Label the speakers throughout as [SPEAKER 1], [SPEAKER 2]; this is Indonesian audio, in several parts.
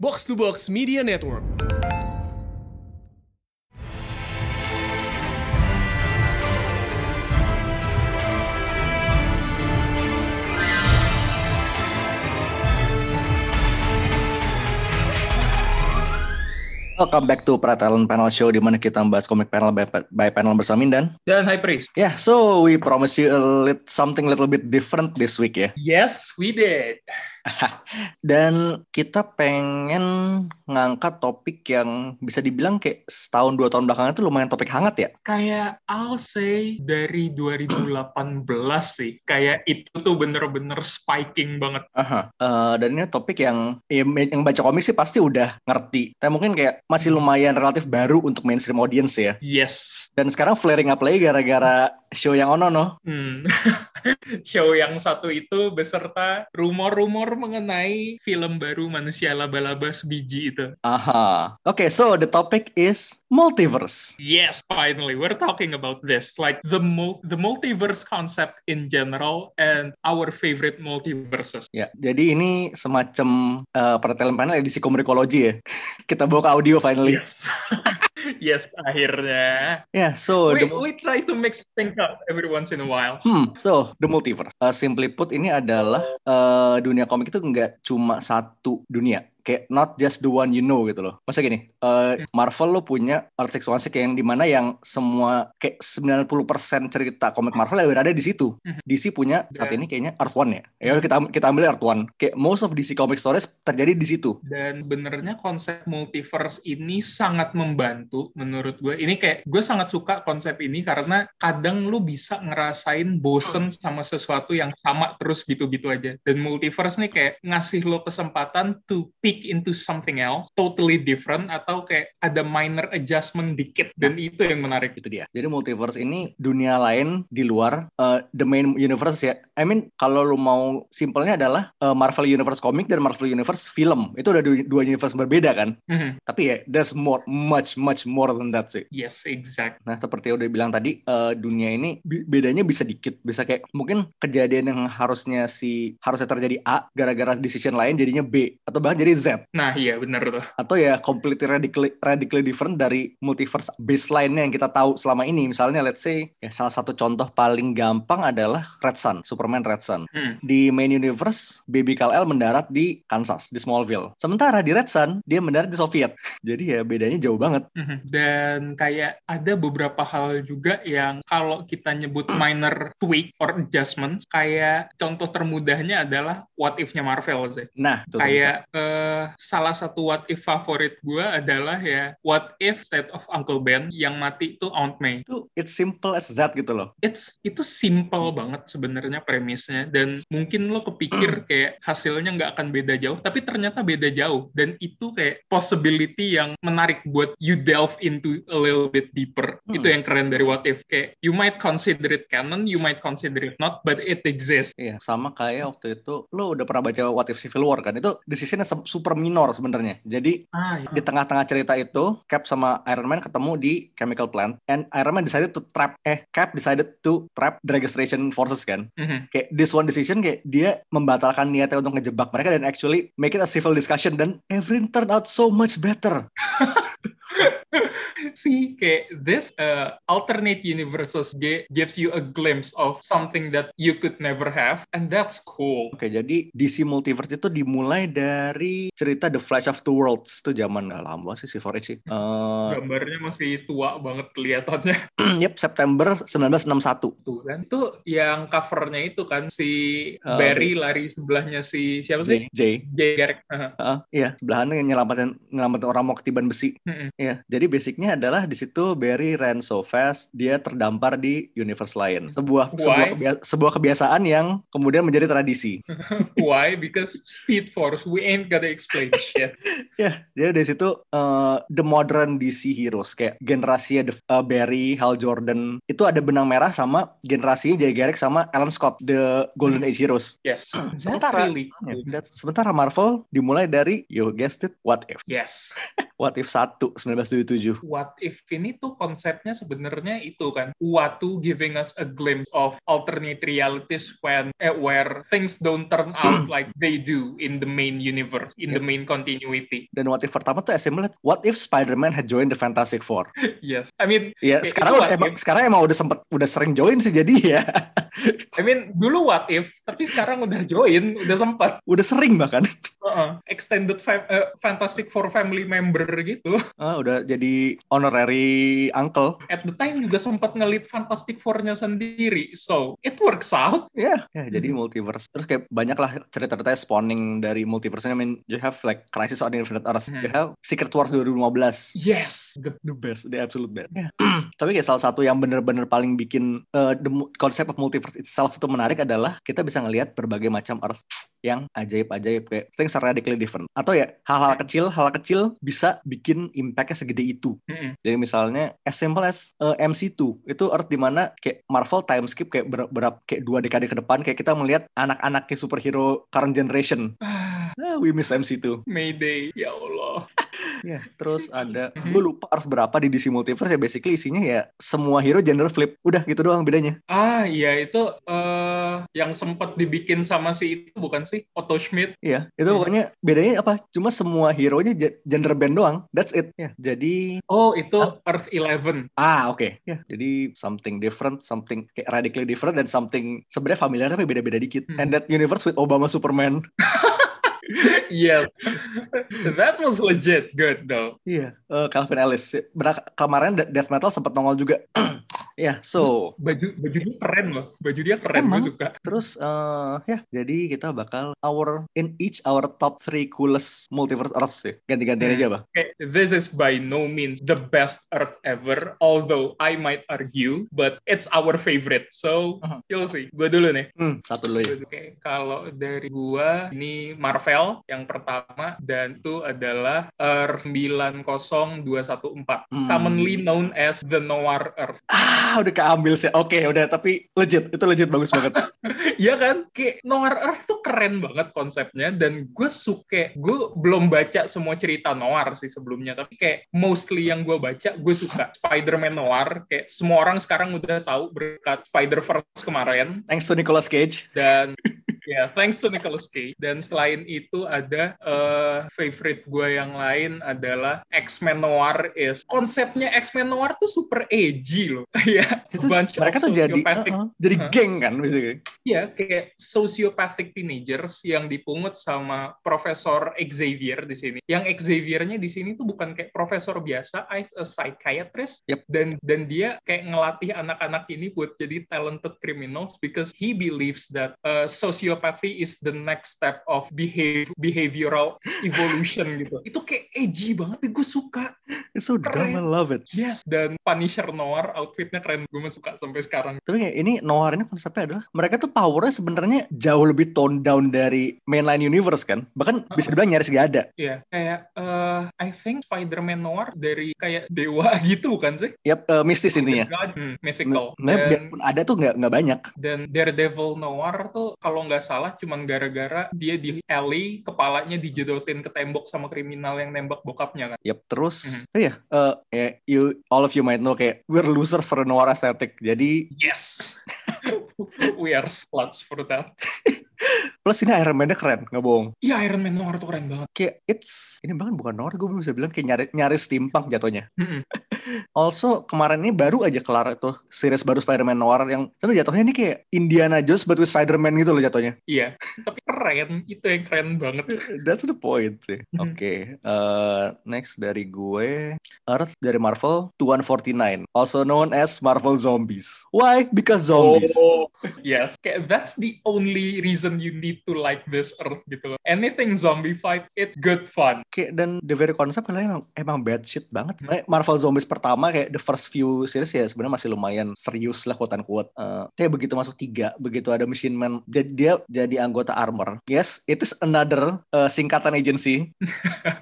[SPEAKER 1] Box to Box Media Network.
[SPEAKER 2] Welcome back to Pratalan Panel Show di mana kita membahas komik panel by, by panel bersama Mindan.
[SPEAKER 3] Dan High Priest.
[SPEAKER 2] Yeah, so we promise you a lit, something little bit different this week ya.
[SPEAKER 3] Yes, we did.
[SPEAKER 2] Dan kita pengen ngangkat topik yang bisa dibilang kayak setahun dua tahun belakangan itu lumayan topik hangat ya.
[SPEAKER 3] Kayak I'll say dari 2018 sih. Kayak itu tuh bener-bener spiking banget.
[SPEAKER 2] Aha. Eh, dan ini topik yang ya, me- yang baca komik sih pasti udah ngerti. Tapi mungkin kayak masih lumayan relatif baru untuk mainstream audience ya.
[SPEAKER 3] Yes.
[SPEAKER 2] Dan sekarang flaring up lagi gara-gara show yang ono no.
[SPEAKER 3] Hmm. Show yang satu itu beserta rumor-rumor mengenai film baru manusia laba-laba sebiji itu.
[SPEAKER 2] Aha. Oke, so the topic is multiverse.
[SPEAKER 3] Yes, finally we're talking about this. Like the mul- the multiverse concept in general and our favorite multiverses.
[SPEAKER 2] Ya, jadi ini semacam eh pertelan panel edisi komunikologi ya. Kita bawa ke audio finally. Ya,
[SPEAKER 3] Yes. yes, akhirnya.
[SPEAKER 2] so the
[SPEAKER 3] we, we try to mix things up every once in a while.
[SPEAKER 2] Hmm, so the multiverse. Eh, simply put ini adalah eh, dunia komik itu nggak cuma satu dunia. Kayak not just the one you know gitu loh. Maksudnya gini, eh, Marvel lo punya Earth 616 kayak yang dimana yang semua kayak 90% cerita komik Marvel yang berada di situ.
[SPEAKER 3] Mhm.
[SPEAKER 2] DC punya saat
[SPEAKER 3] Dan-
[SPEAKER 2] ini kayaknya Earth One ya. Ya udah, kita kita ambil Earth One. Kayak most of DC comic stories terjadi di situ.
[SPEAKER 3] Dan benernya konsep multiverse ini sangat membantu menurut gue. Ini kayak gue sangat suka konsep ini karena kadang lu bisa ngerasain bosen sama sesuatu yang sama terus gitu-gitu aja. Dan multiverse nih kayak ngasih lo kesempatan to peek into something else, totally different atau kayak ada minor adjustment dikit. Dan itu yang menarik.
[SPEAKER 2] itu Gitu dia. Jadi multiverse ini dunia lain di luar uh, the main universe ya. I mean kalau lu mau simpelnya adalah uh, Marvel Universe komik dan Marvel Universe film. Itu udah du- dua universe berbeda kan.
[SPEAKER 3] Mhm.
[SPEAKER 2] Tapi ya there's more much much more than that sih.
[SPEAKER 3] Yes, exact.
[SPEAKER 2] Nah, seperti yang udah bilang tadi, eh, dunia ini bi- bedanya bisa dikit, bisa kayak mungkin kejadian yang harusnya si harusnya terjadi A gara-gara decision lain jadinya B atau bahkan jadi Z
[SPEAKER 3] Nah iya bener tuh.
[SPEAKER 2] atau ya completely radically, radically different dari multiverse baseline-nya yang kita tahu selama ini. Misalnya let's say ya salah satu contoh paling gampang adalah Red Sun, Superman Red Sun.
[SPEAKER 3] Hmm.
[SPEAKER 2] Di main universe, Baby Kal-El mendarat di Kansas, di Smallville. Sementara di Red Sun, dia mendarat di Soviet. Jadi ya bedanya jauh banget.
[SPEAKER 3] Mhm. Dan kayak ada beberapa hal juga yang kalau kita nyebut minor tweak or adjustment, kayak contoh termudahnya adalah what if-nya Marvel sih.
[SPEAKER 2] Nah, itu tuh
[SPEAKER 3] kayak eh, salah satu what if favorit gue adalah ya what if state of Uncle Ben yang mati itu Aunt May.
[SPEAKER 2] bisa. itu it's simple as that gitu loh.
[SPEAKER 3] It's itu simple banget sebenarnya premisnya dan mungkin lo kepikir kayak hasilnya nggak akan beda jauh, tapi ternyata beda jauh dan itu kayak possibility yang menarik buat you delve into a little bit deeper.
[SPEAKER 2] Hmm.
[SPEAKER 3] Itu yang keren dari What If kayak you might consider it canon, you might consider it not, but it exists.
[SPEAKER 2] Iya, sama kayak waktu itu lo udah pernah baca What If Civil War kan? Itu decision-nya se- super minor sebenarnya. Jadi
[SPEAKER 3] Ah,
[SPEAKER 2] di tengah-tengah cerita itu Cap sama Iron Man ketemu di chemical plant and Iron Man decided to trap eh Cap decided to trap the registration forces kan
[SPEAKER 3] Mhm.
[SPEAKER 2] kayak this one decision kayak dia membatalkan niatnya untuk ngejebak mereka dan actually make it a civil discussion dan everything turned out so much better
[SPEAKER 3] See, kayak this uh, alternate universes gi- gives you a glimpse of something that you could never have, and that's cool.
[SPEAKER 2] oke jadi DC Multiverse itu dimulai dari cerita The Flash of Two Worlds itu zaman nggak lama sih si 4H sih Eh,
[SPEAKER 3] Gambarnya masih tua banget kelihatannya.
[SPEAKER 2] yep September 1961
[SPEAKER 3] Tuh kan, itu yang covernya itu kan si
[SPEAKER 2] Oh,
[SPEAKER 3] Barry lari sebelahnya si siapa sih?
[SPEAKER 2] J, J.
[SPEAKER 3] Jay Garrick. Aha.
[SPEAKER 2] Heeh, iya sebelahannya yang nyelamatin nyelamatin orang mau ketiban besi
[SPEAKER 3] Mm-mm.
[SPEAKER 2] Iya, jadi basicnya adalah di situ Barry ran so fast, dia terdampar di universe lain. Sebuah sebuah,
[SPEAKER 3] Why?
[SPEAKER 2] kebia- sebuah kebiasaan yang kemudian menjadi tradisi.
[SPEAKER 3] Why? Because Speed Force, we ain't gotta explain shit.
[SPEAKER 2] Ya, jadi dari situ eh, the modern DC heroes kayak generasi eh, Barry, Hal Jordan itu ada benang merah sama generasinya Jay Garrick sama Alan Scott the Golden Age heroes.
[SPEAKER 3] Yes. That's
[SPEAKER 2] Sementara-
[SPEAKER 3] really
[SPEAKER 2] Ya,
[SPEAKER 3] cool.
[SPEAKER 2] that's- sementara Marvel dimulai dari you guessed it, What If.
[SPEAKER 3] Yes.
[SPEAKER 2] What If 1 1977.
[SPEAKER 3] what if ini tuh konsepnya sebenarnya itu kan Uatu giving us a glimpse of alternate realities when eh, where things don't turn out like they do in the main universe in the main continuity
[SPEAKER 2] Dan what if pertama tuh assemble what if Spider-Man had joined the Fantastic Four?
[SPEAKER 3] yes I mean
[SPEAKER 2] Ya,
[SPEAKER 3] Kayak gitu
[SPEAKER 2] sekarang
[SPEAKER 3] itu
[SPEAKER 2] udah
[SPEAKER 3] what
[SPEAKER 2] emang sekarang emang udah sempet udah sering join sih jadi ya.
[SPEAKER 3] I mean dulu what if tapi sekarang udah join udah sempat
[SPEAKER 2] Udah sering bahkan.
[SPEAKER 3] Heeh. extended fam- eh, Fantastic Four family member gitu
[SPEAKER 2] Ah, udah jadi honorary uncle.
[SPEAKER 3] at the time juga sempat ngelit Fantastic Four-nya sendiri so it works out
[SPEAKER 2] Ya, ya, jadi
[SPEAKER 3] Hmm.
[SPEAKER 2] multiverse. Terus kayak banyak lah cerita-cerita spawning dari multiverse. I mean, you have like Crisis on Infinite Earth.
[SPEAKER 3] Hmm.
[SPEAKER 2] You have Secret Wars 2015.
[SPEAKER 3] yes the
[SPEAKER 2] The best, the absolute best. Tapi kayak salah satu yang bener-bener paling bikin uh, the mu- konsep of multiverse itself itu menarik adalah kita bisa ngelihat berbagai macam Earth yang ajaib-ajaib kayak things are radically different. Atau ya hal-hal kecil, hal kecil bisa bikin impact-nya segede itu.
[SPEAKER 3] Mm-mm.
[SPEAKER 2] Jadi misalnya as simple as uh, MC2 itu Earth di mana kayak Marvel time skip kayak ber- berap kayak dua dekade ke depan kayak kita melihat anak-anaknya superhero current generation.
[SPEAKER 3] Ah,
[SPEAKER 2] Ah, we miss MC2.
[SPEAKER 3] Mayday ya Allah
[SPEAKER 2] Ya, terus ada
[SPEAKER 3] Mhm.
[SPEAKER 2] gue lupa Earth berapa di DC Multiverse ya basically isinya ya semua hero gender flip. Udah gitu doang bedanya.
[SPEAKER 3] Ah, iya itu eh yang sempat dibikin sama si itu bukan sih Otto Schmidt.
[SPEAKER 2] Iya, itu
[SPEAKER 3] Mhm.
[SPEAKER 2] pokoknya bedanya apa? Cuma semua hero-nya ge- gender band doang. That's it. Ya, jadi
[SPEAKER 3] Oh, itu Earth Eleven.
[SPEAKER 2] ah oke. Ya, jadi something different, something kayak radically different dan something sebenarnya familiar tapi beda-beda dikit.
[SPEAKER 3] Mhm.
[SPEAKER 2] And that universe with Obama Superman.
[SPEAKER 3] yes, that was legit good though.
[SPEAKER 2] Iya, eh, Calvin Ellis. Benar, kemarin de- death metal sempat nongol juga. Iya, so
[SPEAKER 3] Baju baju dia keren loh, baju dia keren gue
[SPEAKER 2] Emang?
[SPEAKER 3] suka.
[SPEAKER 2] terus eh, ya jadi kita bakal our in each our top three coolest multiverse earths sih. Ganti-gantian
[SPEAKER 3] Hmm.
[SPEAKER 2] aja, Bang.
[SPEAKER 3] Okay, this is by no means the best Earth ever, although I might argue, but it's our favorite. So
[SPEAKER 2] Uh-huh.
[SPEAKER 3] you'll see. Gue dulu nih.
[SPEAKER 2] Hmm, satu dulu ya.
[SPEAKER 3] Oke, kalau dari gua ini Marvel yang pertama dan itu adalah Earth 90214,
[SPEAKER 2] Hmm.
[SPEAKER 3] commonly known as the Noir Earth.
[SPEAKER 2] Ah, udah keambil sih. Oke, udah tapi legit, itu legit bagus banget.
[SPEAKER 3] Iya kan? Kayak Noir Earth tuh keren banget konsepnya dan gue suka. Gue belum baca semua cerita Noir sih sebelumnya, tapi kayak mostly yang gue baca gue suka. Spider-Man Noir, kayak semua orang sekarang udah tahu berkat Spider-Verse kemarin.
[SPEAKER 2] Thanks to Nicolas Cage.
[SPEAKER 3] dan ya thanks to Nicolas Cage dan selain itu ada eh, favorite gue yang lain adalah X-Men Noir is konsepnya X-Men Noir tuh super edgy loh ya
[SPEAKER 2] Itu
[SPEAKER 3] bunch of
[SPEAKER 2] mereka tuh jadi
[SPEAKER 3] sociopathic-
[SPEAKER 2] uh-uh, jadi
[SPEAKER 3] Huh?
[SPEAKER 2] geng kan basically.
[SPEAKER 3] ya kayak sociopathic teenagers yang dipungut sama Profesor Xavier di sini yang Xavier-nya di sini tuh bukan kayak profesor biasa I a psychiatrist
[SPEAKER 2] Yep.
[SPEAKER 3] dan dan dia kayak ngelatih anak-anak ini buat jadi talented criminals because he believes that uh, sociopathy is the next step of behave, behavioral evolution gitu itu kayak edgy banget gue suka
[SPEAKER 2] It's so dumb, I love it.
[SPEAKER 3] yes dan Punisher Noir outfitnya keren gue suka sampai sekarang
[SPEAKER 2] Tapi kayak ini Noir ini konsepnya adalah mereka tuh powernya sebenarnya jauh lebih toned down dari mainline universe kan. Bahkan bisa
[SPEAKER 3] Uh-huh.
[SPEAKER 2] dibilang nyaris gak ada.
[SPEAKER 3] Iya, kayak eh I think Spider-Man Noir dari kayak dewa gitu bukan sih?
[SPEAKER 2] Yap, eh, mistis intinya.
[SPEAKER 3] God, hmm, mythical.
[SPEAKER 2] Nah,
[SPEAKER 3] dan,
[SPEAKER 2] biarpun ada tuh nggak nggak banyak.
[SPEAKER 3] dan Daredevil Noir tuh kalau nggak salah cuman gara-gara dia di alley kepalanya dijedotin ke tembok sama kriminal yang nembak bokapnya kan.
[SPEAKER 2] Yap, terus oh ya, eh, ya, you all of you might know kayak we're losers for noir aesthetic. Jadi
[SPEAKER 3] Yes. We are sluts for that.
[SPEAKER 2] plus ini Iron Man-nya keren, nggak bohong.
[SPEAKER 3] Iya, Iron Man Noir tuh keren banget.
[SPEAKER 2] Kayak it's ini bahkan bukan noir, gue bisa bilang kayak nyari nyaris timpang jatuhnya.
[SPEAKER 3] Mm-mm.
[SPEAKER 2] Also kemarin ini baru aja kelar tuh series baru Spider-Man noir yang tapi jatuhnya ini kayak Indiana Jones but with Spider-Man gitu loh jatuhnya.
[SPEAKER 3] Iya, tapi keren. Itu yang keren banget.
[SPEAKER 2] That's the point sih.
[SPEAKER 3] Mhm.
[SPEAKER 2] Oke, eh, next dari gue Earth dari Marvel 2149, also known as Marvel Zombies. Why? Because zombies.
[SPEAKER 3] Oh, yes. Kayak that's the only reason you need to like this earth gitu loh. Anything zombie fight, it's good fun.
[SPEAKER 2] Kayak dan the very concept adalah emang, emang bad shit banget.
[SPEAKER 3] Hmm.
[SPEAKER 2] Eh, Marvel Zombies pertama kayak the first few series ya sebenarnya masih lumayan serius lah quote unquote. Eh, tapi begitu masuk tiga, begitu ada Machine Man, jadi dia jadi anggota Armor. Yes, it is another eh, singkatan agency.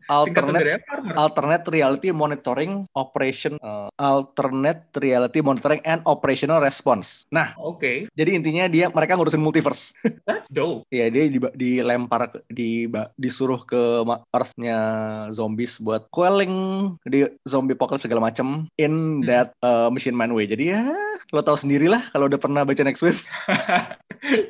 [SPEAKER 3] Singkatan
[SPEAKER 2] alternate
[SPEAKER 3] dari apa? Armor?
[SPEAKER 2] alternate reality monitoring operation uh, alternate reality monitoring and operational response. Nah,
[SPEAKER 3] Oke,
[SPEAKER 2] jadi intinya dia mereka ngurusin multiverse.
[SPEAKER 3] that's dope.
[SPEAKER 2] Ya, ya dia diba- dilempar ke- di ba- disuruh ke ma- earthnya zombies buat quelling di zombie apocalypse segala macem in
[SPEAKER 3] Hmm.
[SPEAKER 2] that uh, machine man way jadi ya lo tahu sendirilah kalau udah pernah baca next wave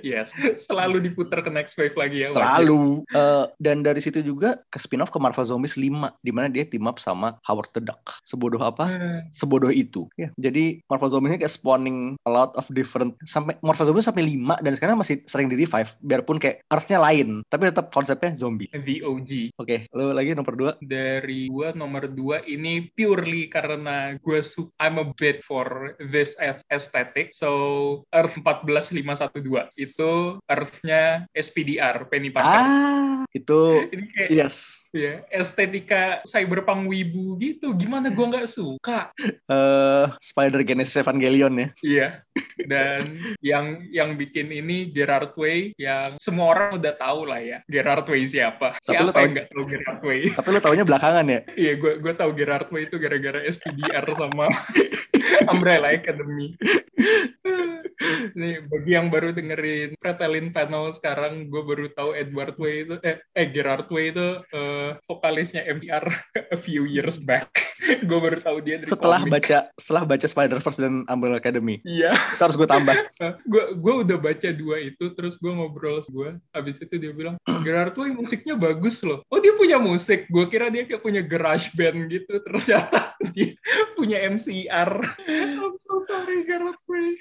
[SPEAKER 3] yes. Selalu diputar ke next wave lagi ya. wajib.
[SPEAKER 2] selalu Eh, dan dari situ juga ke spin off ke Marvel Zombies 5 di mana dia team up sama Howard the Duck sebodoh apa
[SPEAKER 3] Eh,
[SPEAKER 2] sebodoh itu ya jadi Marvel Zombies ini kayak spawning a lot of different sampai Marvel Zombies sampai 5 dan sekarang masih sering di revive biarpun kayak earthnya lain tapi tetap konsepnya zombie
[SPEAKER 3] The OG.
[SPEAKER 2] Oke, lo lagi nomor dua
[SPEAKER 3] dari gua nomor dua ini purely karena gua suka I'm a bit for this ath- aesthetic so Earth 14512 itu Earth-nya SPDR Penny Parker
[SPEAKER 2] Ah, itu
[SPEAKER 3] ini kayak
[SPEAKER 2] yes.
[SPEAKER 3] ya, estetika cyberpunk wibu gitu gimana gua nggak suka
[SPEAKER 2] eh Spider Genesis Evangelion ya.
[SPEAKER 3] iya dan yang yang bikin ini Gerard Way yang semua orang udah tahu lah ya Gerard Way siapa
[SPEAKER 2] Tapi
[SPEAKER 3] siapa
[SPEAKER 2] lu tahu-
[SPEAKER 3] yang nggak tahu Gerard Way
[SPEAKER 2] Tapi lo taunya belakangan ya.
[SPEAKER 3] Iya, gue gue tahu Gerard Way itu gara-gara SPDR sama Umbrella Academy. Nih, bagi yang baru dengerin Pretelin Panel sekarang, gue baru tahu Edward Way itu, eh, eh Gerard Way itu eh, vokalisnya MDR a few years back. gue baru tahu dia dari
[SPEAKER 2] Setelah
[SPEAKER 3] komik.
[SPEAKER 2] baca setelah baca Spider Verse dan Umbrella Academy,
[SPEAKER 3] Iya,
[SPEAKER 2] itu harus gue tambah.
[SPEAKER 3] gue gue udah baca dua itu, terus gue ngobrol gue, abis itu dia bilang Gerard Way musiknya bagus loh. Oh dia punya musik, gue kira dia kayak punya garage band gitu, ternyata dia punya MCR. I'm so sorry Gerard Way.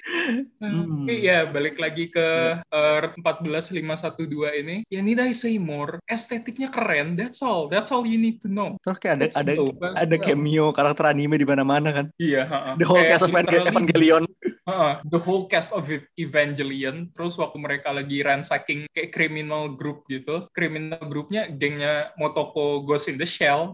[SPEAKER 2] Hmm.
[SPEAKER 3] Oke ya balik lagi ke eh, Earth 14512 ini. Ya need I say more? Estetiknya keren, that's all, that's all you need to know.
[SPEAKER 2] Terus kayak ada
[SPEAKER 3] That's
[SPEAKER 2] ada
[SPEAKER 3] all. That's
[SPEAKER 2] ada
[SPEAKER 3] all.
[SPEAKER 2] cameo karakter anime di mana-mana kan.
[SPEAKER 3] Iya, ha-ha.
[SPEAKER 2] The whole
[SPEAKER 3] Kayak
[SPEAKER 2] cast of Evangel-
[SPEAKER 3] literally-
[SPEAKER 2] Evangelion.
[SPEAKER 3] Heeh, the whole cast of Ev- Evangelion terus waktu mereka lagi ransacking kayak criminal group gitu criminal groupnya gengnya Motoko Ghost in the Shell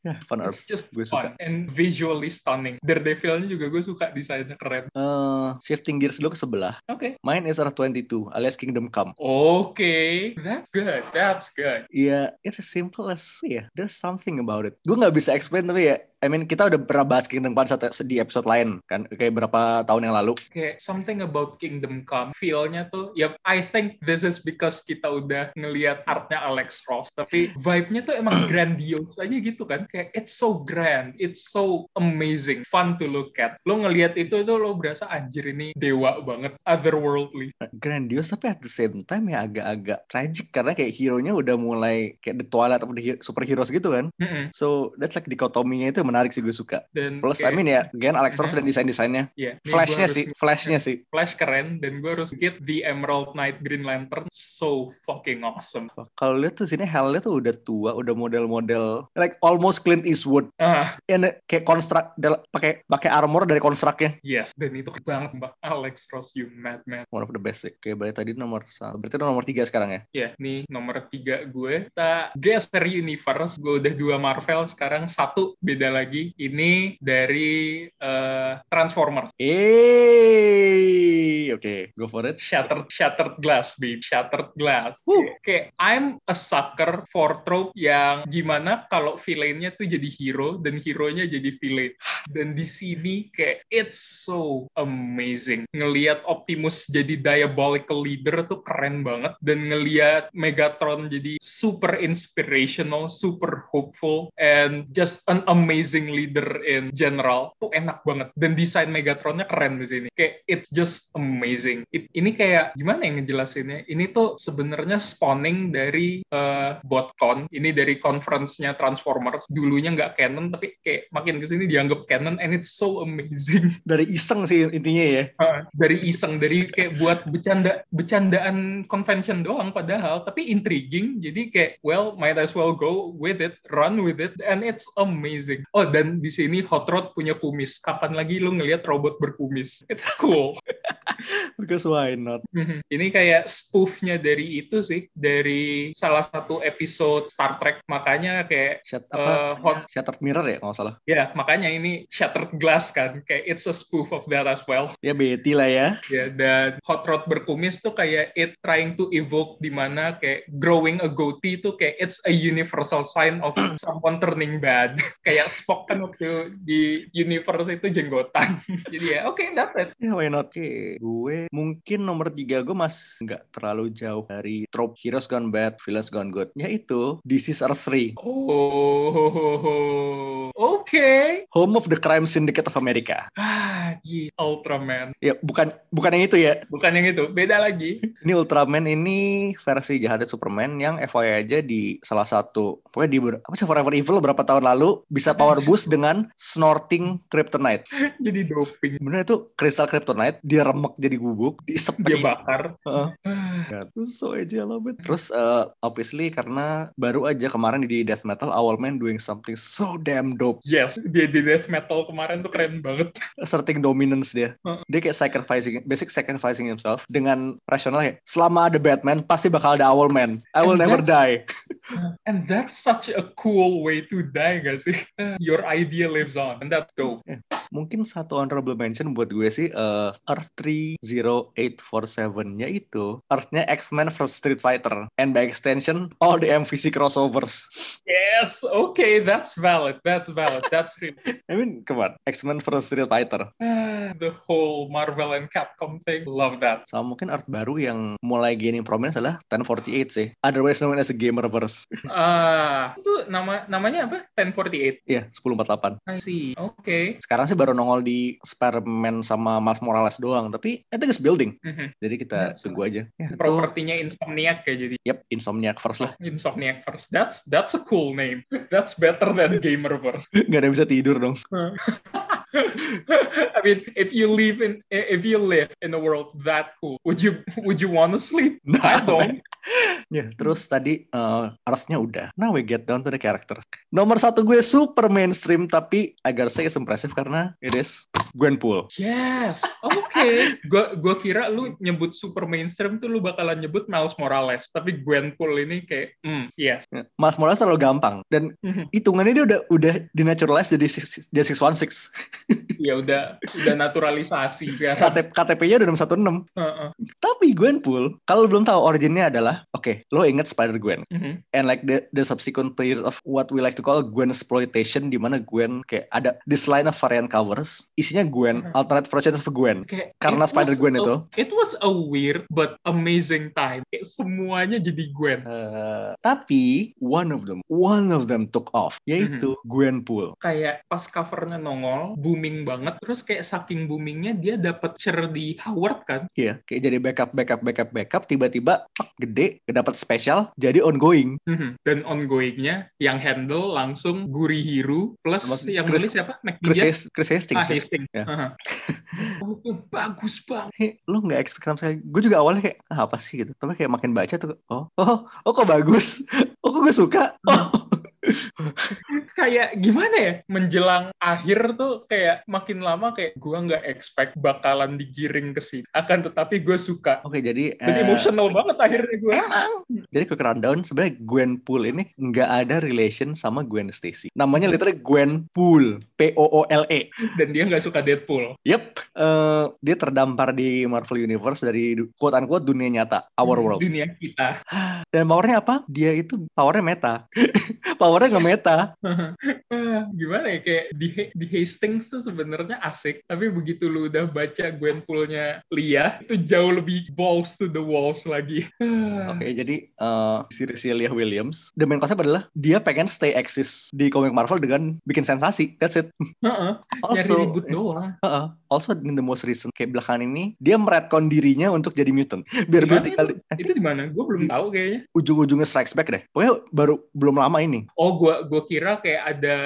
[SPEAKER 2] Ya, Fun Earth.
[SPEAKER 3] it's just
[SPEAKER 2] Gue
[SPEAKER 3] fun
[SPEAKER 2] suka.
[SPEAKER 3] and visually stunning Daredevil-nya juga gue suka desainnya keren
[SPEAKER 2] Eh, shifting gears dulu ke sebelah.
[SPEAKER 3] oke
[SPEAKER 2] Mine is Earth 22 alias Kingdom Come.
[SPEAKER 3] oke that's good that's good
[SPEAKER 2] Iya, it's as simple as ya. there's something about it. Gue nggak bisa explain tapi ya, I mean kita udah pernah bahas Kingdom Come satu- di episode lain kan, kayak berapa tahun yang lalu.
[SPEAKER 3] kayak something about Kingdom Come feel-nya tuh ya I think this is because kita udah ngelihat artnya Alex Ross tapi vibe-nya tuh emang grandiose aja gitu kan kayak it's so grand it's so amazing fun to look at lo ngelihat itu itu lo berasa anjir ini dewa banget otherworldly
[SPEAKER 2] Grandiose tapi at the same time ya agak-agak tragic karena kayak hero-nya udah mulai kayak the Twilight atau the he- superheroes gitu kan.
[SPEAKER 3] Mm-mm.
[SPEAKER 2] So that's like dikotominya itu yang menarik sih gue suka.
[SPEAKER 3] dan
[SPEAKER 2] Plus I
[SPEAKER 3] kayak-
[SPEAKER 2] mean ya, again Alex Ross dan desain-desainnya.
[SPEAKER 3] Iya. Nih, gua
[SPEAKER 2] Flash-nya
[SPEAKER 3] harus
[SPEAKER 2] sih, flash-nya sih.
[SPEAKER 3] Flash keren dan gue harus get the Emerald Knight Green Lantern so fucking awesome
[SPEAKER 2] Kalau lihat tuh sini Hell-nya tuh udah tua, udah model-model like almost Clint Eastwood.
[SPEAKER 3] ah
[SPEAKER 2] And uh, kayak construct dal- pakai pakai armor dari konstruknya.
[SPEAKER 3] yes dan itu keren banget mbak Alex Ross you madman
[SPEAKER 2] One of the best sih. Kayak berarti tadi nomor sa- berarti itu nomor tiga sekarang ya.
[SPEAKER 3] Ya, nih nomor tiga gue. Kita geser universe. Gue udah dua Marvel, sekarang satu beda lagi. Ini dari eh, Transformers.
[SPEAKER 2] Eh, oke, go for it.
[SPEAKER 3] Shattered, shattered glass, babe. Shattered glass.
[SPEAKER 2] Woo.
[SPEAKER 3] Oke, I'm a sucker for trope yang gimana kalau villainnya tuh jadi hero dan hero-nya jadi villain. Dan di sini kayak it's so amazing. Ngeliat Optimus jadi diabolical leader tuh keren banget. Dan ngeliat Megatron jadi super inspirational, super hopeful, and just an amazing leader in general. Tuh enak banget. Dan desain Megatronnya keren di sini. Kayak it's just amazing. It- ini kayak gimana yang ngejelasinnya? Ini tuh sebenarnya spawning dari eh, BotCon. Ini dari conference-nya Transformers. Dulunya nggak canon, tapi kayak makin kesini dianggap canon, and it's so amazing
[SPEAKER 2] Dari iseng sih intinya ya.
[SPEAKER 3] Ah, dari iseng dari kayak buat bercanda bercandaan convention doang padahal tapi intriguing jadi kayak well might as well go with it run with it and it's amazing oh dan di sini hot rod punya kumis kapan lagi lu ngelihat robot berkumis it's cool
[SPEAKER 2] Because why not?
[SPEAKER 3] Mhm. ini kayak spoofnya dari itu sih dari salah satu episode Star Trek makanya kayak
[SPEAKER 2] Shut apa?
[SPEAKER 3] eh, hot
[SPEAKER 2] Shattered Mirror ya kalau nggak salah.
[SPEAKER 3] ya makanya ini shattered glass kan kayak it's a spoof of that as well
[SPEAKER 2] Ya Betty lah ya.
[SPEAKER 3] Ya, dan hot rod berkumis tuh kayak it's trying to evoke di mana kayak growing a goatee tuh kayak it's a universal sign of someone turning bad. kayak Spock kan waktu di universe itu jenggotan. Jadi ya, oke, that's it.
[SPEAKER 2] Ya why not? Oke, gua gue mungkin nomor tiga gue mas nggak terlalu jauh dari trope heroes gone bad, villains gone good. Yaitu This is Earth 3,
[SPEAKER 3] Oh, oke.
[SPEAKER 2] Home of the Crime Syndicate of America.
[SPEAKER 3] Ah, gila. Ultraman.
[SPEAKER 2] Ya bukan bukan yang itu ya.
[SPEAKER 3] Bukan yang itu, beda lagi.
[SPEAKER 2] Ini Ultraman ini versi jahatnya Superman yang FYI aja di salah satu pokoknya di ber- apa sih Forever Evil berapa tahun lalu bisa
[SPEAKER 3] Hmm.
[SPEAKER 2] power boost dengan snorting kryptonite.
[SPEAKER 3] jadi doping.
[SPEAKER 2] Bener itu kristal kryptonite dia remek jadi gubuk,
[SPEAKER 3] Dia
[SPEAKER 2] disepik.
[SPEAKER 3] bakar.
[SPEAKER 2] Heeh.
[SPEAKER 3] Ah,
[SPEAKER 2] Terus so aja love it. Terus eh, obviously karena baru aja kemarin di Death Metal Owl Man doing something so damn dope.
[SPEAKER 3] Yes, dia di death metal kemarin tuh keren banget.
[SPEAKER 2] Asserting dominance dia.
[SPEAKER 3] Heeh.
[SPEAKER 2] Dia kayak sacrificing, basic sacrificing himself dengan rasional ya. Selama ada Batman pasti bakal ada Owl Man. I will
[SPEAKER 3] And
[SPEAKER 2] never die.
[SPEAKER 3] And that's such a cool way to die gak sih? Your idea lives on, and that's dope.
[SPEAKER 2] Mungkin satu honorable mention buat gue sih eh, Earth 30847-nya itu Earth-nya X-Men versus Street Fighter and by extension all the MVC crossovers.
[SPEAKER 3] Yes, okay, that's valid, that's valid, that's real.
[SPEAKER 2] I mean, come on. X-Men versus Street Fighter.
[SPEAKER 3] Ah, the whole Marvel and Capcom thing, love that.
[SPEAKER 2] sama mungkin art baru yang mulai gaining prominence adalah 1048 sih. Otherwise known as a gamerverse.
[SPEAKER 3] Ah, itu nama namanya apa? 1048.
[SPEAKER 2] Iya, 1048.
[SPEAKER 3] I see. Oke.
[SPEAKER 2] Sekarang sih baru nongol di Spider-Man sama Miles Morales doang, tapi I think it's building.
[SPEAKER 3] Mhm.
[SPEAKER 2] Jadi kita
[SPEAKER 3] That's
[SPEAKER 2] tunggu aja. Ya, itu
[SPEAKER 3] Propertinya Insomniac ya jadi.
[SPEAKER 2] yep, Insomniac first lah.
[SPEAKER 3] Insomniac first. That's that's a cool name. That's better than Gamerverse.
[SPEAKER 2] Nggak ada yang bisa tidur dong.
[SPEAKER 3] I mean, if you live in if you live in a world that cool, would you would you want to sleep? I
[SPEAKER 2] Nah,
[SPEAKER 3] don't.
[SPEAKER 2] ya, terus tadi uh, nya udah. Now we get down to the character. Nomor satu gue super mainstream tapi agar saya impressive karena it is Gwenpool.
[SPEAKER 3] Yes, oke. Gua gua kira lu nyebut super mainstream tuh lu bakalan nyebut Miles Morales, tapi Gwenpool ini kayak, hmm, yes.
[SPEAKER 2] Ya, Miles Morales terlalu gampang dan
[SPEAKER 3] Mhm.
[SPEAKER 2] hitungannya dia udah udah dinaturalize jadi six- dia 616.
[SPEAKER 3] Ya udah udah naturalisasi sekarang.
[SPEAKER 2] KTP, KTP-nya udah 616.
[SPEAKER 3] Heeh.
[SPEAKER 2] Tapi Gwenpool, kalau belum tahu originnya adalah, oke, lo inget Spider-Gwen.
[SPEAKER 3] Mhm.
[SPEAKER 2] And like the, the subsequent period of what we like to call Gwen exploitation, di mana Gwen kayak ada this line of variant covers, isinya Gwen,
[SPEAKER 3] Hmm.
[SPEAKER 2] alternate version of Gwen.
[SPEAKER 3] Kayak
[SPEAKER 2] Karena
[SPEAKER 3] it was
[SPEAKER 2] Spider-Gwen
[SPEAKER 3] a-
[SPEAKER 2] itu.
[SPEAKER 3] It was a weird but amazing time. Kayak semuanya jadi Gwen.
[SPEAKER 2] Eh, tapi one of them, one of them took off, yaitu
[SPEAKER 3] Hmm.
[SPEAKER 2] Gwenpool.
[SPEAKER 3] Kayak pas covernya nongol, booming banget. Terus kayak saking boomingnya dia dapat share di Howard kan?
[SPEAKER 2] Iya, kayak jadi backup, backup, backup, backup, tiba-tiba tek, gede, dapat spesial, jadi ongoing.
[SPEAKER 3] Mhm. Dan ongoingnya yang handle langsung Gurihiru plus
[SPEAKER 2] Sama
[SPEAKER 3] yang
[SPEAKER 2] Chris-
[SPEAKER 3] nulis siapa?
[SPEAKER 2] Chris,
[SPEAKER 3] McDidier?
[SPEAKER 2] Hast- Chris Hastings.
[SPEAKER 3] Ah,
[SPEAKER 2] ya.
[SPEAKER 3] Hastings.
[SPEAKER 2] Ya.
[SPEAKER 3] Aha. Oh, itu bagus banget.
[SPEAKER 2] Hei, lo nggak expect sama sekali. Gue juga awalnya kayak "Ah, apa sih gitu. Tapi kayak makin baca tuh, oh, oh, oh kok bagus. Oh kok gue suka. Oh,
[SPEAKER 3] Kayak gimana ya? Menjelang akhir tuh kayak makin lama kayak gua nggak expect bakalan digiring ke sini. Akan tetapi gue suka.
[SPEAKER 2] oke jadi.
[SPEAKER 3] Dan
[SPEAKER 2] eh,
[SPEAKER 3] emotional banget akhirnya gue.
[SPEAKER 2] jadi quick rundown sebenarnya Gwenpool ini nggak ada relation sama Gwen Stacy. Namanya literally Gwenpool, P O O L E.
[SPEAKER 3] Dan dia nggak suka Deadpool.
[SPEAKER 2] Yep, Eh, dia terdampar di Marvel Universe dari du- quote unquote dunia nyata, our world.
[SPEAKER 3] Dunia kita.
[SPEAKER 2] Dan powernya apa? Dia itu powernya meta. powernya nggak meta.
[SPEAKER 3] Eh, Gimana ya, kayak di, di Hastings tuh sebenarnya asik. Tapi begitu lu udah baca Gwenpool-nya Lia, itu jauh lebih balls to the walls lagi. Hmm.
[SPEAKER 2] Oke, jadi eh si Cecilia Williams, the main concept adalah dia pengen stay eksis di komik Marvel dengan bikin sensasi. That's it.
[SPEAKER 3] Heeh, nyari
[SPEAKER 2] Also,
[SPEAKER 3] ribut doang.
[SPEAKER 2] Heeh. also in the most recent kayak belakangan ini, dia meretcon dirinya untuk jadi mutant. Biar dia
[SPEAKER 3] Gimana
[SPEAKER 2] tinggal eh,
[SPEAKER 3] Itu di mana? Gue belum tahu kayaknya.
[SPEAKER 2] ujung-ujungnya strikes back deh. Pokoknya baru belum lama ini.
[SPEAKER 3] Oh, gue gua kira kayak ada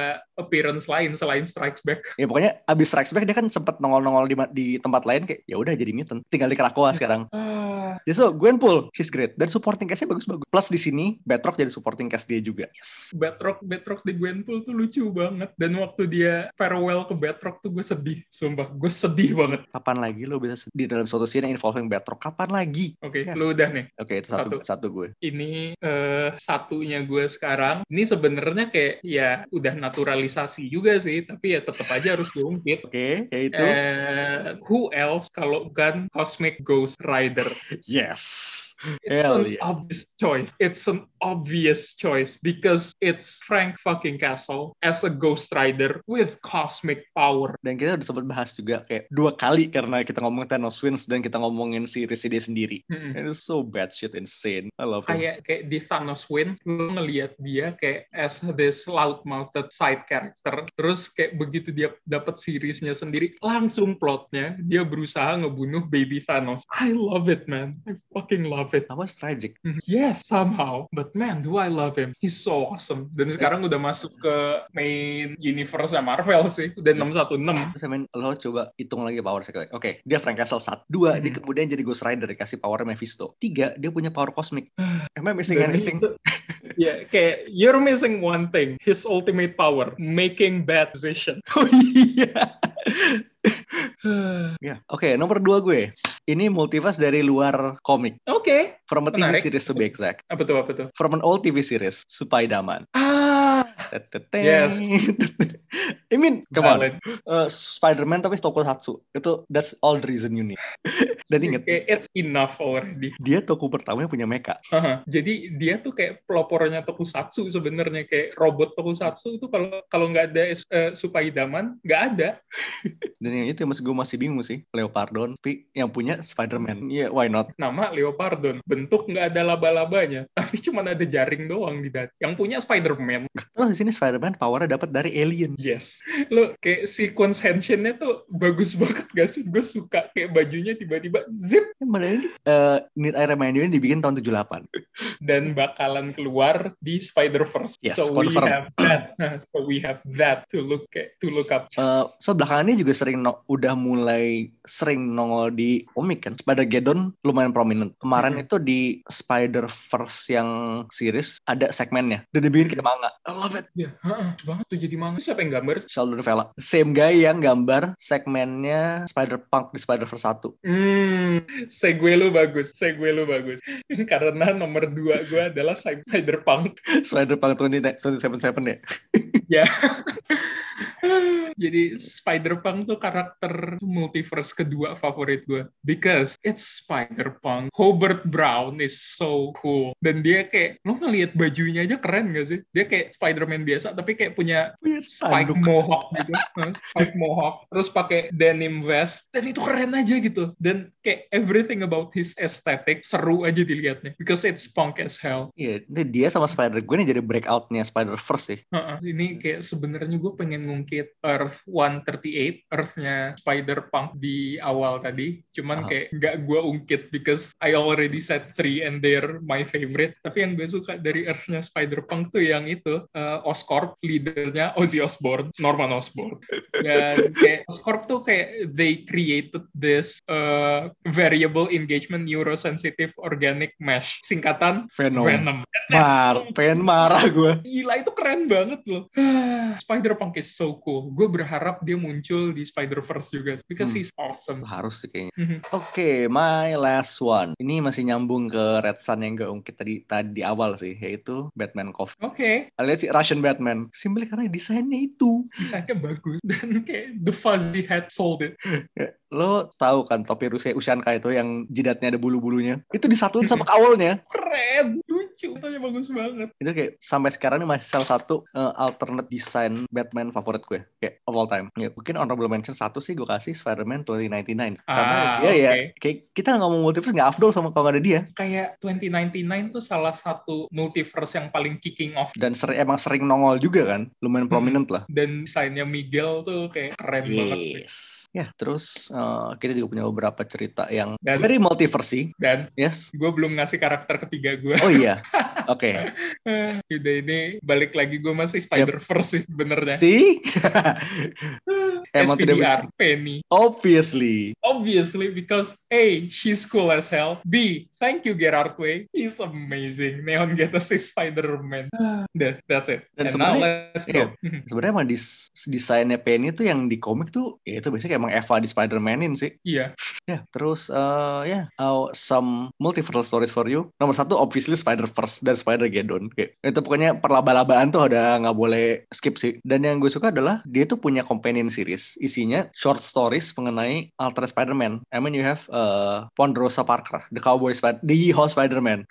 [SPEAKER 3] appearance lain selain Strikes Back.
[SPEAKER 2] Ya pokoknya abis strikes back dia kan sempat nongol-nongol di, ma- di tempat lain kayak ya udah jadi mutant. Tinggal di
[SPEAKER 3] Hmm.
[SPEAKER 2] Krakoa sekarang.
[SPEAKER 3] Ah,
[SPEAKER 2] Ya so Gwenpool, she's great dan supporting cast-nya bagus-bagus. Plus di sini Batroc jadi supporting cast dia juga. Yes.
[SPEAKER 3] Batroc, Batroc di Gwenpool tuh lucu banget. Dan waktu dia farewell ke Batroc tuh gue sedih. Sumpah, gue sedih banget.
[SPEAKER 2] Kapan lagi lo bisa di dalam suatu scene yang involving Batroc? Kapan lagi?
[SPEAKER 3] Oke,
[SPEAKER 2] Ya.
[SPEAKER 3] lu udah nih.
[SPEAKER 2] Oke, itu satu, satu. gue.
[SPEAKER 3] Ini eh, satunya gue sekarang. Ini sebenarnya kayak ya udah naturalisasi juga sih, tapi ya tetap aja harus
[SPEAKER 2] Gitu.
[SPEAKER 3] diungkit.
[SPEAKER 2] Oke, yaitu
[SPEAKER 3] Eh, who else kalau bukan Cosmic Ghost Rider?
[SPEAKER 2] Yes.
[SPEAKER 3] It's
[SPEAKER 2] Hell yeah.
[SPEAKER 3] an obvious choice. It's an obvious choice because it's Frank fucking Castle as a Ghost Rider with cosmic power.
[SPEAKER 2] Dan kita udah sempat bahas juga kayak dua kali karena kita ngomongin Thanos wins dan kita ngomongin si dia sendiri.
[SPEAKER 3] Mm-mm.
[SPEAKER 2] It is so bad shit insane. I love it.
[SPEAKER 3] Kayak kayak di Thanos win, lu ngelihat dia kayak as this loud-mouthed side character. Terus kayak begitu dia dapat seriesnya sendiri, langsung plotnya dia berusaha ngebunuh baby Thanos. I love it, man. I fucking love it. Mm-hmm.
[SPEAKER 2] That was tragic.
[SPEAKER 3] Yes, somehow. But man, do I love him. He's so awesome. Dan sekarang udah masuk ke main universe Marvel sih. Udah 616.
[SPEAKER 2] Terus I mean, lo coba hitung lagi power sekali. Oke, dia Frank Castle satu. Dua, dia
[SPEAKER 3] Mhm.
[SPEAKER 2] kemudian jadi Ghost Rider dikasih power Mephisto. Tiga, dia punya power kosmik. Am I missing
[SPEAKER 3] Dan
[SPEAKER 2] anything?
[SPEAKER 3] itu- Ya, kayak you're missing one thing. His ultimate power, making bad decision.
[SPEAKER 2] oh iya. Ya, oke, nomor dua gue. Ini multiverse dari luar komik.
[SPEAKER 3] Oke,
[SPEAKER 2] From a TV
[SPEAKER 3] Menarik.
[SPEAKER 2] series to be exact.
[SPEAKER 3] apa tuh apa tuh?
[SPEAKER 2] From an old TV series, Spider-Man.
[SPEAKER 3] Ah,
[SPEAKER 2] Teteteng.
[SPEAKER 3] Yes.
[SPEAKER 2] I mean, come on.
[SPEAKER 3] valid.
[SPEAKER 2] Uh, Spider-Man tapi tokusatsu. Itu that's all the reason you need. Dan inget,
[SPEAKER 3] Kayak it's enough already.
[SPEAKER 2] dia toko pertamanya punya mecha.
[SPEAKER 3] Haha. Jadi dia tuh kayak pelopornya tokusatsu sebenarnya kayak robot tokusatsu itu kalau kalau nggak ada eh, Supaidaman nggak ada.
[SPEAKER 2] Dan yang itu yang masih gue masih bingung sih. Leopardon, tapi yang punya Spider-Man. Iya, why not?
[SPEAKER 3] nama Leopardon. Bentuk nggak ada laba-labanya, tapi cuma ada jaring doang di dada. Yang punya Spider-Man.
[SPEAKER 2] Terus di sini Spider-Man powernya dapat dari alien.
[SPEAKER 3] Yes. Lo kayak sequence handshake-nya tuh bagus banget gak sih? Gue suka kayak bajunya tiba-tiba zip
[SPEAKER 2] Padahal ini uh, Need I Remind You ini dibikin tahun 78.
[SPEAKER 3] dan bakalan keluar di Spider-Verse.
[SPEAKER 2] Yes,
[SPEAKER 3] so
[SPEAKER 2] confirm.
[SPEAKER 3] we have that. so we have that to look at, to look up.
[SPEAKER 2] Eh, so belakangan ini juga sering no- udah mulai sering nongol di komik kan. Spider Geddon lumayan prominent. Kemarin
[SPEAKER 3] Mhm.
[SPEAKER 2] itu di Spider Verse yang series ada segmennya dan dibikin kayak manga. I love it.
[SPEAKER 3] ya, ha-ha, banget tuh jadi manga. Siapa yang gambar?
[SPEAKER 2] Sheldon Vela. Same guy yang gambar segmennya Spider Punk di Spider Verse 1.
[SPEAKER 3] Hmm, segue lu bagus, segue lu bagus. Karena nomor dua gue adalah Spider-Punk.
[SPEAKER 2] Spider Punk 2077 ya.
[SPEAKER 3] Jadi Spider-Punk tuh karakter multiverse kedua favorit gue. Because it's Spider-Punk. Hobart Brown is so cool. Dan dia kayak, lo ngeliat bajunya aja keren gak sih? Dia kayak Spider-Man biasa, tapi kayak punya
[SPEAKER 2] Punya
[SPEAKER 3] spike
[SPEAKER 2] spanduk.
[SPEAKER 3] mohawk gitu. Nah, spike mohawk. Terus pakai denim vest. Dan itu keren aja gitu. Dan kayak everything about his aesthetic seru aja dilihatnya. Because it's punk as hell.
[SPEAKER 2] Iya, ini dia sama Spider gue nih jadi breakoutnya Spider Verse sih.
[SPEAKER 3] Heeh,
[SPEAKER 2] Iya.
[SPEAKER 3] ini kayak sebenarnya gue pengen ngungkit Earth 138, Earth-nya Spider-Punk di awal tadi. Cuman
[SPEAKER 2] Aha.
[SPEAKER 3] kayak nggak gue ungkit because I already said three and they're my favorite. Tapi yang gue suka dari Earth-nya Spider-Punk tuh yang itu, eh, Oscorp, leadernya Ozzy Osbourne, Norman Osborn. Dan kayak Oscorp tuh kayak they created this eh, variable engagement neurosensitive organic mesh. Singkatan
[SPEAKER 2] Venom.
[SPEAKER 3] Venom.
[SPEAKER 2] Mar, pengen marah gue.
[SPEAKER 3] Gila itu keren banget loh. Spider-Punk is so cool. Gue berharap dia muncul di Spider-Verse juga because
[SPEAKER 2] Hmm.
[SPEAKER 3] he's awesome.
[SPEAKER 2] Harus sih kayaknya. Oke, my last one. Ini masih nyambung ke Red Sun yang gue ungkit tadi tadi di awal sih, yaitu Batman Coffee.
[SPEAKER 3] Oke,
[SPEAKER 2] Alias si Russian Batman. Simpel karena desainnya itu.
[SPEAKER 3] desainnya bagus dan kayak the fuzzy hat sold it.
[SPEAKER 2] Ya, lo tahu kan topi Rusia Ushanka itu yang jidatnya ada bulu-bulunya? Itu disatuin sama
[SPEAKER 3] Mhm.
[SPEAKER 2] kawalnya.
[SPEAKER 3] Keren, lucu, katanya bagus banget.
[SPEAKER 2] Itu kayak sampai sekarang ini masih salah satu eh, alternate design Batman favorit gue. Kayak of all time. Ya, mungkin honorable mention satu sih gue kasih Spider-Man 2099. Karena
[SPEAKER 3] Ah,
[SPEAKER 2] dia ya,
[SPEAKER 3] oke.
[SPEAKER 2] kayak kita ngomong multiverse nggak afdol sama ya. kalau nggak ada dia.
[SPEAKER 3] Kayak 2099 tuh salah satu multiverse yang paling kicking off
[SPEAKER 2] Dan seri- emang sering nongol juga kan. Lumayan prominent lah.
[SPEAKER 3] dan desainnya Miguel tuh kayak keren banget.
[SPEAKER 2] Yes. Ya, terus eh, kita juga punya beberapa cerita yang
[SPEAKER 3] Dan-
[SPEAKER 2] very multiverse.
[SPEAKER 3] Dan
[SPEAKER 2] Yes.
[SPEAKER 3] gue belum ngasih karakter ketiga gue.
[SPEAKER 2] Oh iya. Oke.
[SPEAKER 3] Udah ini balik lagi gue masih Spider-Verse sih sebenarnya.
[SPEAKER 2] See? Emang tidak bisa.
[SPEAKER 3] SPDR, Penny.
[SPEAKER 2] Obviously.
[SPEAKER 3] obviously because A, she's cool as hell. B, Thank you Gerard Way. He's amazing. Neon Genesis Spider-Man. Dah, that's it.
[SPEAKER 2] Dan
[SPEAKER 3] And now
[SPEAKER 2] sebenarnya-
[SPEAKER 3] let's go.
[SPEAKER 2] Sebenarnya emang dis- desainnya Penny tuh yang di komik tuh ya itu biasanya kayak emang Eva di Spider-Manin sih.
[SPEAKER 3] Iya.
[SPEAKER 2] Ya, terus eh ya oh, some multiverse stories for you. Nomor satu obviously Spider-Verse dan Spider-Geddon. Kayak, itu pokoknya perlaba-labaan tuh udah nggak boleh skip sih. Dan yang gue suka adalah dia tuh punya companion series isinya short stories mengenai Ultra Spider-Man. I mean you have eh Ponderosa Parker, The Cowboy Spider, The Yeehaw Spider-Man.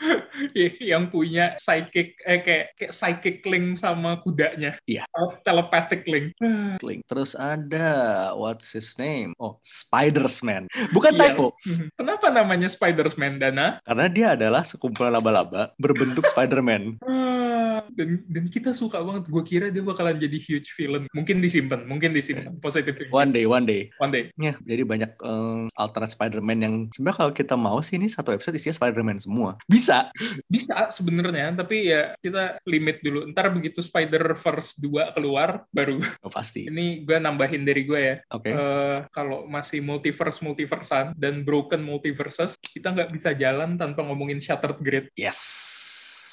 [SPEAKER 3] Iya. yang punya psychic eh kayak kayak psychic link sama kudanya.
[SPEAKER 2] Iya.
[SPEAKER 3] Atau Telepathic link.
[SPEAKER 2] Link. Terus ada what's his name? Oh, Spiders-Man. Bukan
[SPEAKER 3] Iya.
[SPEAKER 2] typo.
[SPEAKER 3] Kenapa namanya Spider-Man Dana?
[SPEAKER 2] Karena dia adalah sekumpulan laba-laba berbentuk Spider-Man.
[SPEAKER 3] Ah, Dan dan kita suka banget. Gue kira dia bakalan jadi huge film. Mungkin disimpan, mungkin disimpan.
[SPEAKER 2] Iya.
[SPEAKER 3] Positif
[SPEAKER 2] One day, one day.
[SPEAKER 3] one day.
[SPEAKER 2] Ya, jadi banyak eh, alternate Spider-Man yang sebenarnya kalau kita mau sih ini satu episode isinya Spider-Man semua. Bisa.
[SPEAKER 3] Bisa sebenarnya, tapi ya kita limit dulu. Ntar begitu Spider-Verse 2 keluar, baru
[SPEAKER 2] Oh, pasti.
[SPEAKER 3] ini gue nambahin dari gue ya.
[SPEAKER 2] Oke.
[SPEAKER 3] Eh, kalau masih multiverse multiversan dan broken multiverses, kita nggak bisa jalan tanpa ngomongin Shattered Grid.
[SPEAKER 2] Yes.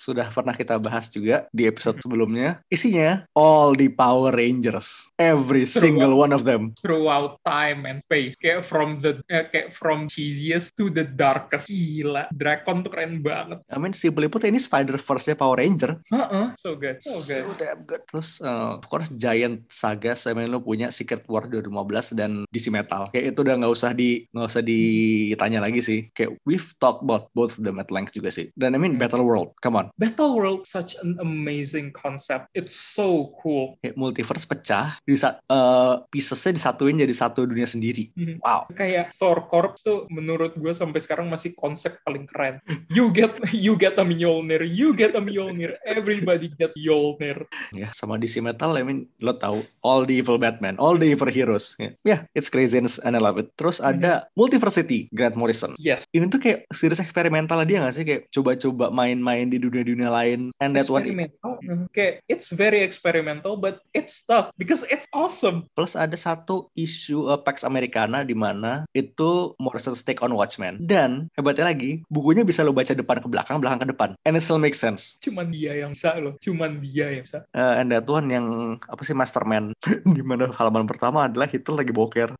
[SPEAKER 2] Sudah pernah kita bahas juga di episode sebelumnya. Isinya all the Power Rangers. Every single one of them.
[SPEAKER 3] throughout time and space kayak from the eh, kayak from cheesiest to the darkest gila Dracon tuh keren banget
[SPEAKER 2] I mean, si peliput ini Spider-Verse-nya Power Ranger.
[SPEAKER 3] Heeh, so good so
[SPEAKER 2] So
[SPEAKER 3] good
[SPEAKER 2] damn good. Terus eh, of course Giant Saga saya main lo punya Secret War 2015 dan DC Metal. Kayak itu udah nggak usah di nggak usah ditanya lagi sih. Kayak we've talked about both of them at length juga sih. Dan I mean
[SPEAKER 3] Hmm.
[SPEAKER 2] Battle World, come on.
[SPEAKER 3] Battle World such an amazing concept it's so cool
[SPEAKER 2] Kayak multiverse pecah, di eh piecesnya disatuin jadi satu dunia sendiri.
[SPEAKER 3] Mhm.
[SPEAKER 2] Wow.
[SPEAKER 3] kayak Thor Corp tuh menurut gue sampai sekarang masih konsep paling keren you get you get a Mjolnir you get a Mjolnir everybody gets Mjolnir
[SPEAKER 2] Ya, sama DC Metal, I mean, lo tahu all the evil Batman, all the evil heroes. Ya, yeah, it's crazy and I love it. Terus ada Multiversity, Grant Morrison.
[SPEAKER 3] yes
[SPEAKER 2] ini tuh kayak series eksperimental dia nggak sih kayak coba-coba main-main di dunia-dunia lain and that one
[SPEAKER 3] experimental kayak it's very experimental but it's stuck because it's awesome
[SPEAKER 2] plus ada satu isu uh, Pax Americana di mana itu Morrison take on Watchmen dan hebatnya lagi bukunya bisa lo baca depan ke belakang belakang ke depan and it still makes sense
[SPEAKER 3] cuman dia yang bisa loh cuman dia yang bisa
[SPEAKER 2] Uh, and that one yang apa sih Masterman di mana halaman pertama adalah Hitler lagi boker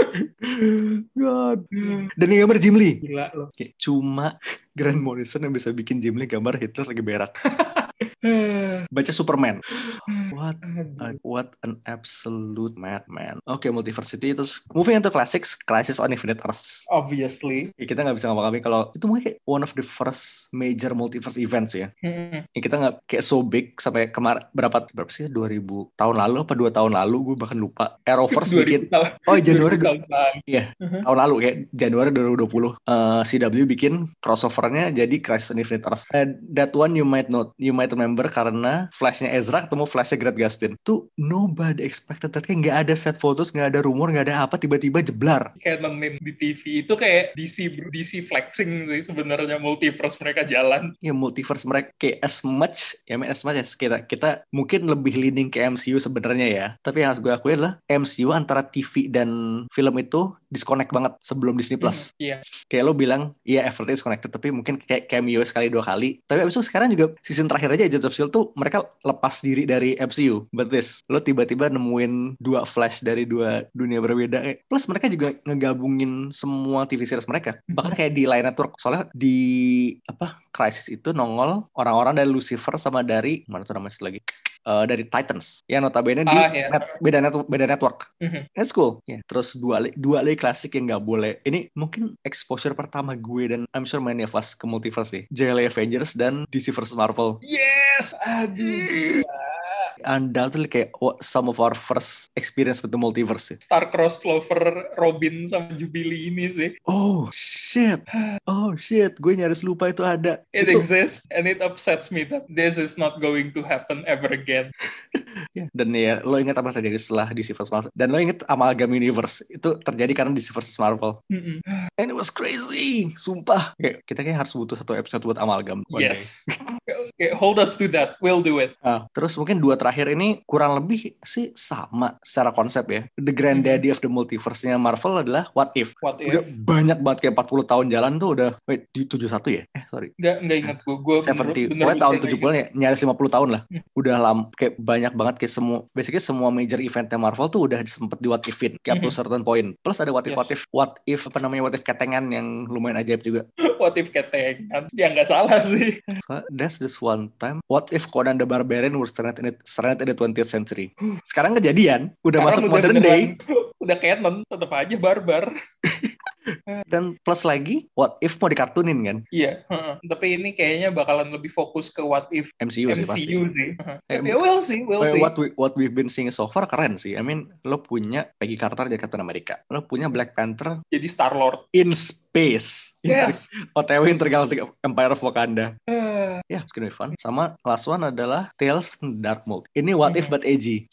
[SPEAKER 2] God dan yang gambar Jim Lee
[SPEAKER 3] Hmm, gila loh
[SPEAKER 2] Kayak cuma Grant Morrison yang bisa bikin Jim Lee gambar Hitler lagi berak baca Superman what Uh, what an absolute madman. Oke, multiversity terus moving into classics, Crisis on Infinite Earths.
[SPEAKER 3] obviously
[SPEAKER 2] Ya, kita nggak bisa ngomong-ngomong kalau itu mungkin kayak one of the first major multiverse events ya.
[SPEAKER 3] Hmm.
[SPEAKER 2] Ya, kita nggak kayak so big sampai kemarin berapa berapa sih 2000 tahun lalu apa dua tahun lalu gue bahkan lupa. Arrowverse bikin oh Januari Iya. du-
[SPEAKER 3] Uh-huh.
[SPEAKER 2] tahun lalu kayak Januari 2020 eh, CW bikin crossovernya jadi Crisis on Infinite Earths. And that one you might not you might remember karena flashnya Ezra ketemu flashnya Grant Gustin. Tuh nobody expected that kayak nggak ada set photos, nggak ada rumor, nggak ada apa tiba-tiba jeblar.
[SPEAKER 3] canon di TV itu kayak DC DC flexing sih sebenarnya multiverse mereka jalan
[SPEAKER 2] Ya multiverse mereka kayak as much ya I mean, as much as kita kita mungkin lebih leaning ke MCU sebenarnya ya. Tapi yang harus gue akui adalah MCU antara TV dan film itu disconnect banget sebelum Disney Plus.
[SPEAKER 3] iya
[SPEAKER 2] kayak lo bilang iya effort is connected tapi mungkin kayak cameo sekali dua kali tapi abis itu sekarang juga season terakhir aja Agents of S.H.I.E.L.D E tuh mereka lepas diri dari MCU but this lo tiba-tiba nemuin dua flash dari dua dunia berbeda kayak- plus mereka juga ngegabungin semua TV series mereka bahkan kayak di Line Network soalnya di apa Crisis itu nongol orang-orang dari Lucifer sama dari mana tuh namanya satu lagi Eh, dari Titans yang notabene di
[SPEAKER 3] Ah, iya.
[SPEAKER 2] net- beda, net- beda network
[SPEAKER 3] Mhm.
[SPEAKER 2] That's cool. Terus dua lay- dua lay klasik yang nggak boleh. Ini mungkin exposure pertama gue dan I'm sure many of us ke multiverse sih. JLA Avengers dan DC vs Marvel.
[SPEAKER 3] yes aduh
[SPEAKER 2] Undoubtedly kayak wa- some of our first experience with the multiverse sih.
[SPEAKER 3] Star Cross Lover Robin sama Jubilee ini sih
[SPEAKER 2] Oh shit. Oh shit. Gue nyaris lupa itu ada.
[SPEAKER 3] it
[SPEAKER 2] Itu-
[SPEAKER 3] exists and it upsets me that this is not going to happen ever again
[SPEAKER 2] Ya, Dan ya lo inget apa yang terjadi setelah DC vs Marvel. Dan lo inget Amalgam Universe. Itu terjadi karena DC vs Marvel.
[SPEAKER 3] Mm-mm.
[SPEAKER 2] And
[SPEAKER 3] Iya.
[SPEAKER 2] it was crazy. Sumpah. Kayak, kita kayak harus butuh satu episode buat Amalgam. one day.
[SPEAKER 3] Yes. Kayak- Okay, hold us to that. We'll do it.
[SPEAKER 2] Ah, terus mungkin dua terakhir ini kurang lebih sih sama secara konsep ya. The granddaddy of the multiverse-nya Marvel adalah What If.
[SPEAKER 3] What if?
[SPEAKER 2] Udah banyak banget kayak 40 tahun jalan tuh udah wait di 71 ya? Eh sorry.
[SPEAKER 3] Nggak, nggak ingat gue. Gue
[SPEAKER 2] 70, pokoknya tahun 70-an ya, nyaris 50 tahun lah. Udah lam, kayak banyak banget kayak semua, basically semua major eventnya Marvel tuh udah sempet di what if-in, kayak up to
[SPEAKER 3] Mhm.
[SPEAKER 2] certain point. Plus ada what if,
[SPEAKER 3] Yes.
[SPEAKER 2] what if, what if, apa namanya, what if ketengan yang lumayan ajaib juga.
[SPEAKER 3] What if keteng? Ya nggak salah sih.
[SPEAKER 2] So, There's this one time, what if Conan the Barbarian was stranded in, stranded in the 20th century? Sekarang kejadian, udah masuk
[SPEAKER 3] Sekarang
[SPEAKER 2] modern day,
[SPEAKER 3] beneran- Udah canon, tetap aja barbar.
[SPEAKER 2] dan plus lagi, what if mau dikartunin kan?
[SPEAKER 3] Iya. heeh. Tapi ini kayaknya bakalan lebih fokus ke what if
[SPEAKER 2] MCU, Iya sih pasti.
[SPEAKER 3] MCU sih. Heeh.
[SPEAKER 2] Eh,
[SPEAKER 3] Tapi ya we'll see, we'll
[SPEAKER 2] Well,
[SPEAKER 3] see.
[SPEAKER 2] what we, what we've been seeing so far keren sih. I mean, lo punya Peggy Carter jadi Captain America. Lo punya Black Panther
[SPEAKER 3] Jadi Star Lord.
[SPEAKER 2] in space.
[SPEAKER 3] Yes.
[SPEAKER 2] OTW Intergalactic Empire of Wakanda.
[SPEAKER 3] Eh,
[SPEAKER 2] Ya, it's gonna be fun. Sama last one adalah Tales from the Dark World. Ini
[SPEAKER 3] Iya.
[SPEAKER 2] what if but edgy.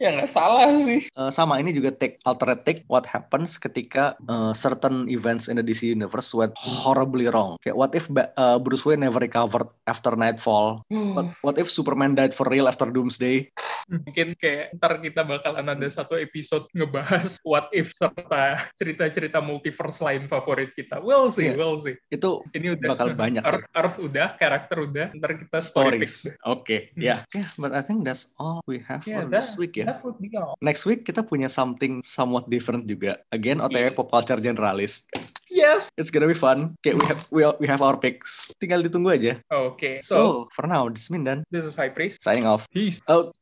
[SPEAKER 3] ya nggak salah sih.
[SPEAKER 2] Eh, sama ini juga take alternate take what happens ketika eh, certain events in the DC universe went horribly wrong. Kayak what if Ba- eh, Bruce Wayne never recovered after Nightfall?
[SPEAKER 3] Hmm.
[SPEAKER 2] What, what if Superman died for real after Doomsday?
[SPEAKER 3] Mungkin kayak ntar kita bakalan
[SPEAKER 2] Hmm.
[SPEAKER 3] ada satu episode ngebahas what if serta cerita-cerita multiverse lain favorit kita. We'll see,
[SPEAKER 2] Iya.
[SPEAKER 3] we'll see.
[SPEAKER 2] Itu
[SPEAKER 3] Ini udah
[SPEAKER 2] bakal banyak.
[SPEAKER 3] Earth, Earth udah, karakter udah. Ntar kita story picks.
[SPEAKER 2] Stories. Oke, ya. Ya, but I think that's all we have
[SPEAKER 3] Hmm. Yeah,
[SPEAKER 2] for
[SPEAKER 3] that-
[SPEAKER 2] this week ya.
[SPEAKER 3] That would be all.
[SPEAKER 2] Next week kita punya something somewhat different juga. Again, OTW
[SPEAKER 3] Iya.
[SPEAKER 2] pop culture generalist.
[SPEAKER 3] Yes.
[SPEAKER 2] It's gonna be fun. Okay, we have we, we have our picks. Tinggal ditunggu aja.
[SPEAKER 3] Okay.
[SPEAKER 2] So,
[SPEAKER 3] So,
[SPEAKER 2] for now, this Mindan
[SPEAKER 3] this is High Priest.
[SPEAKER 2] signing off.
[SPEAKER 3] Peace.
[SPEAKER 2] Out.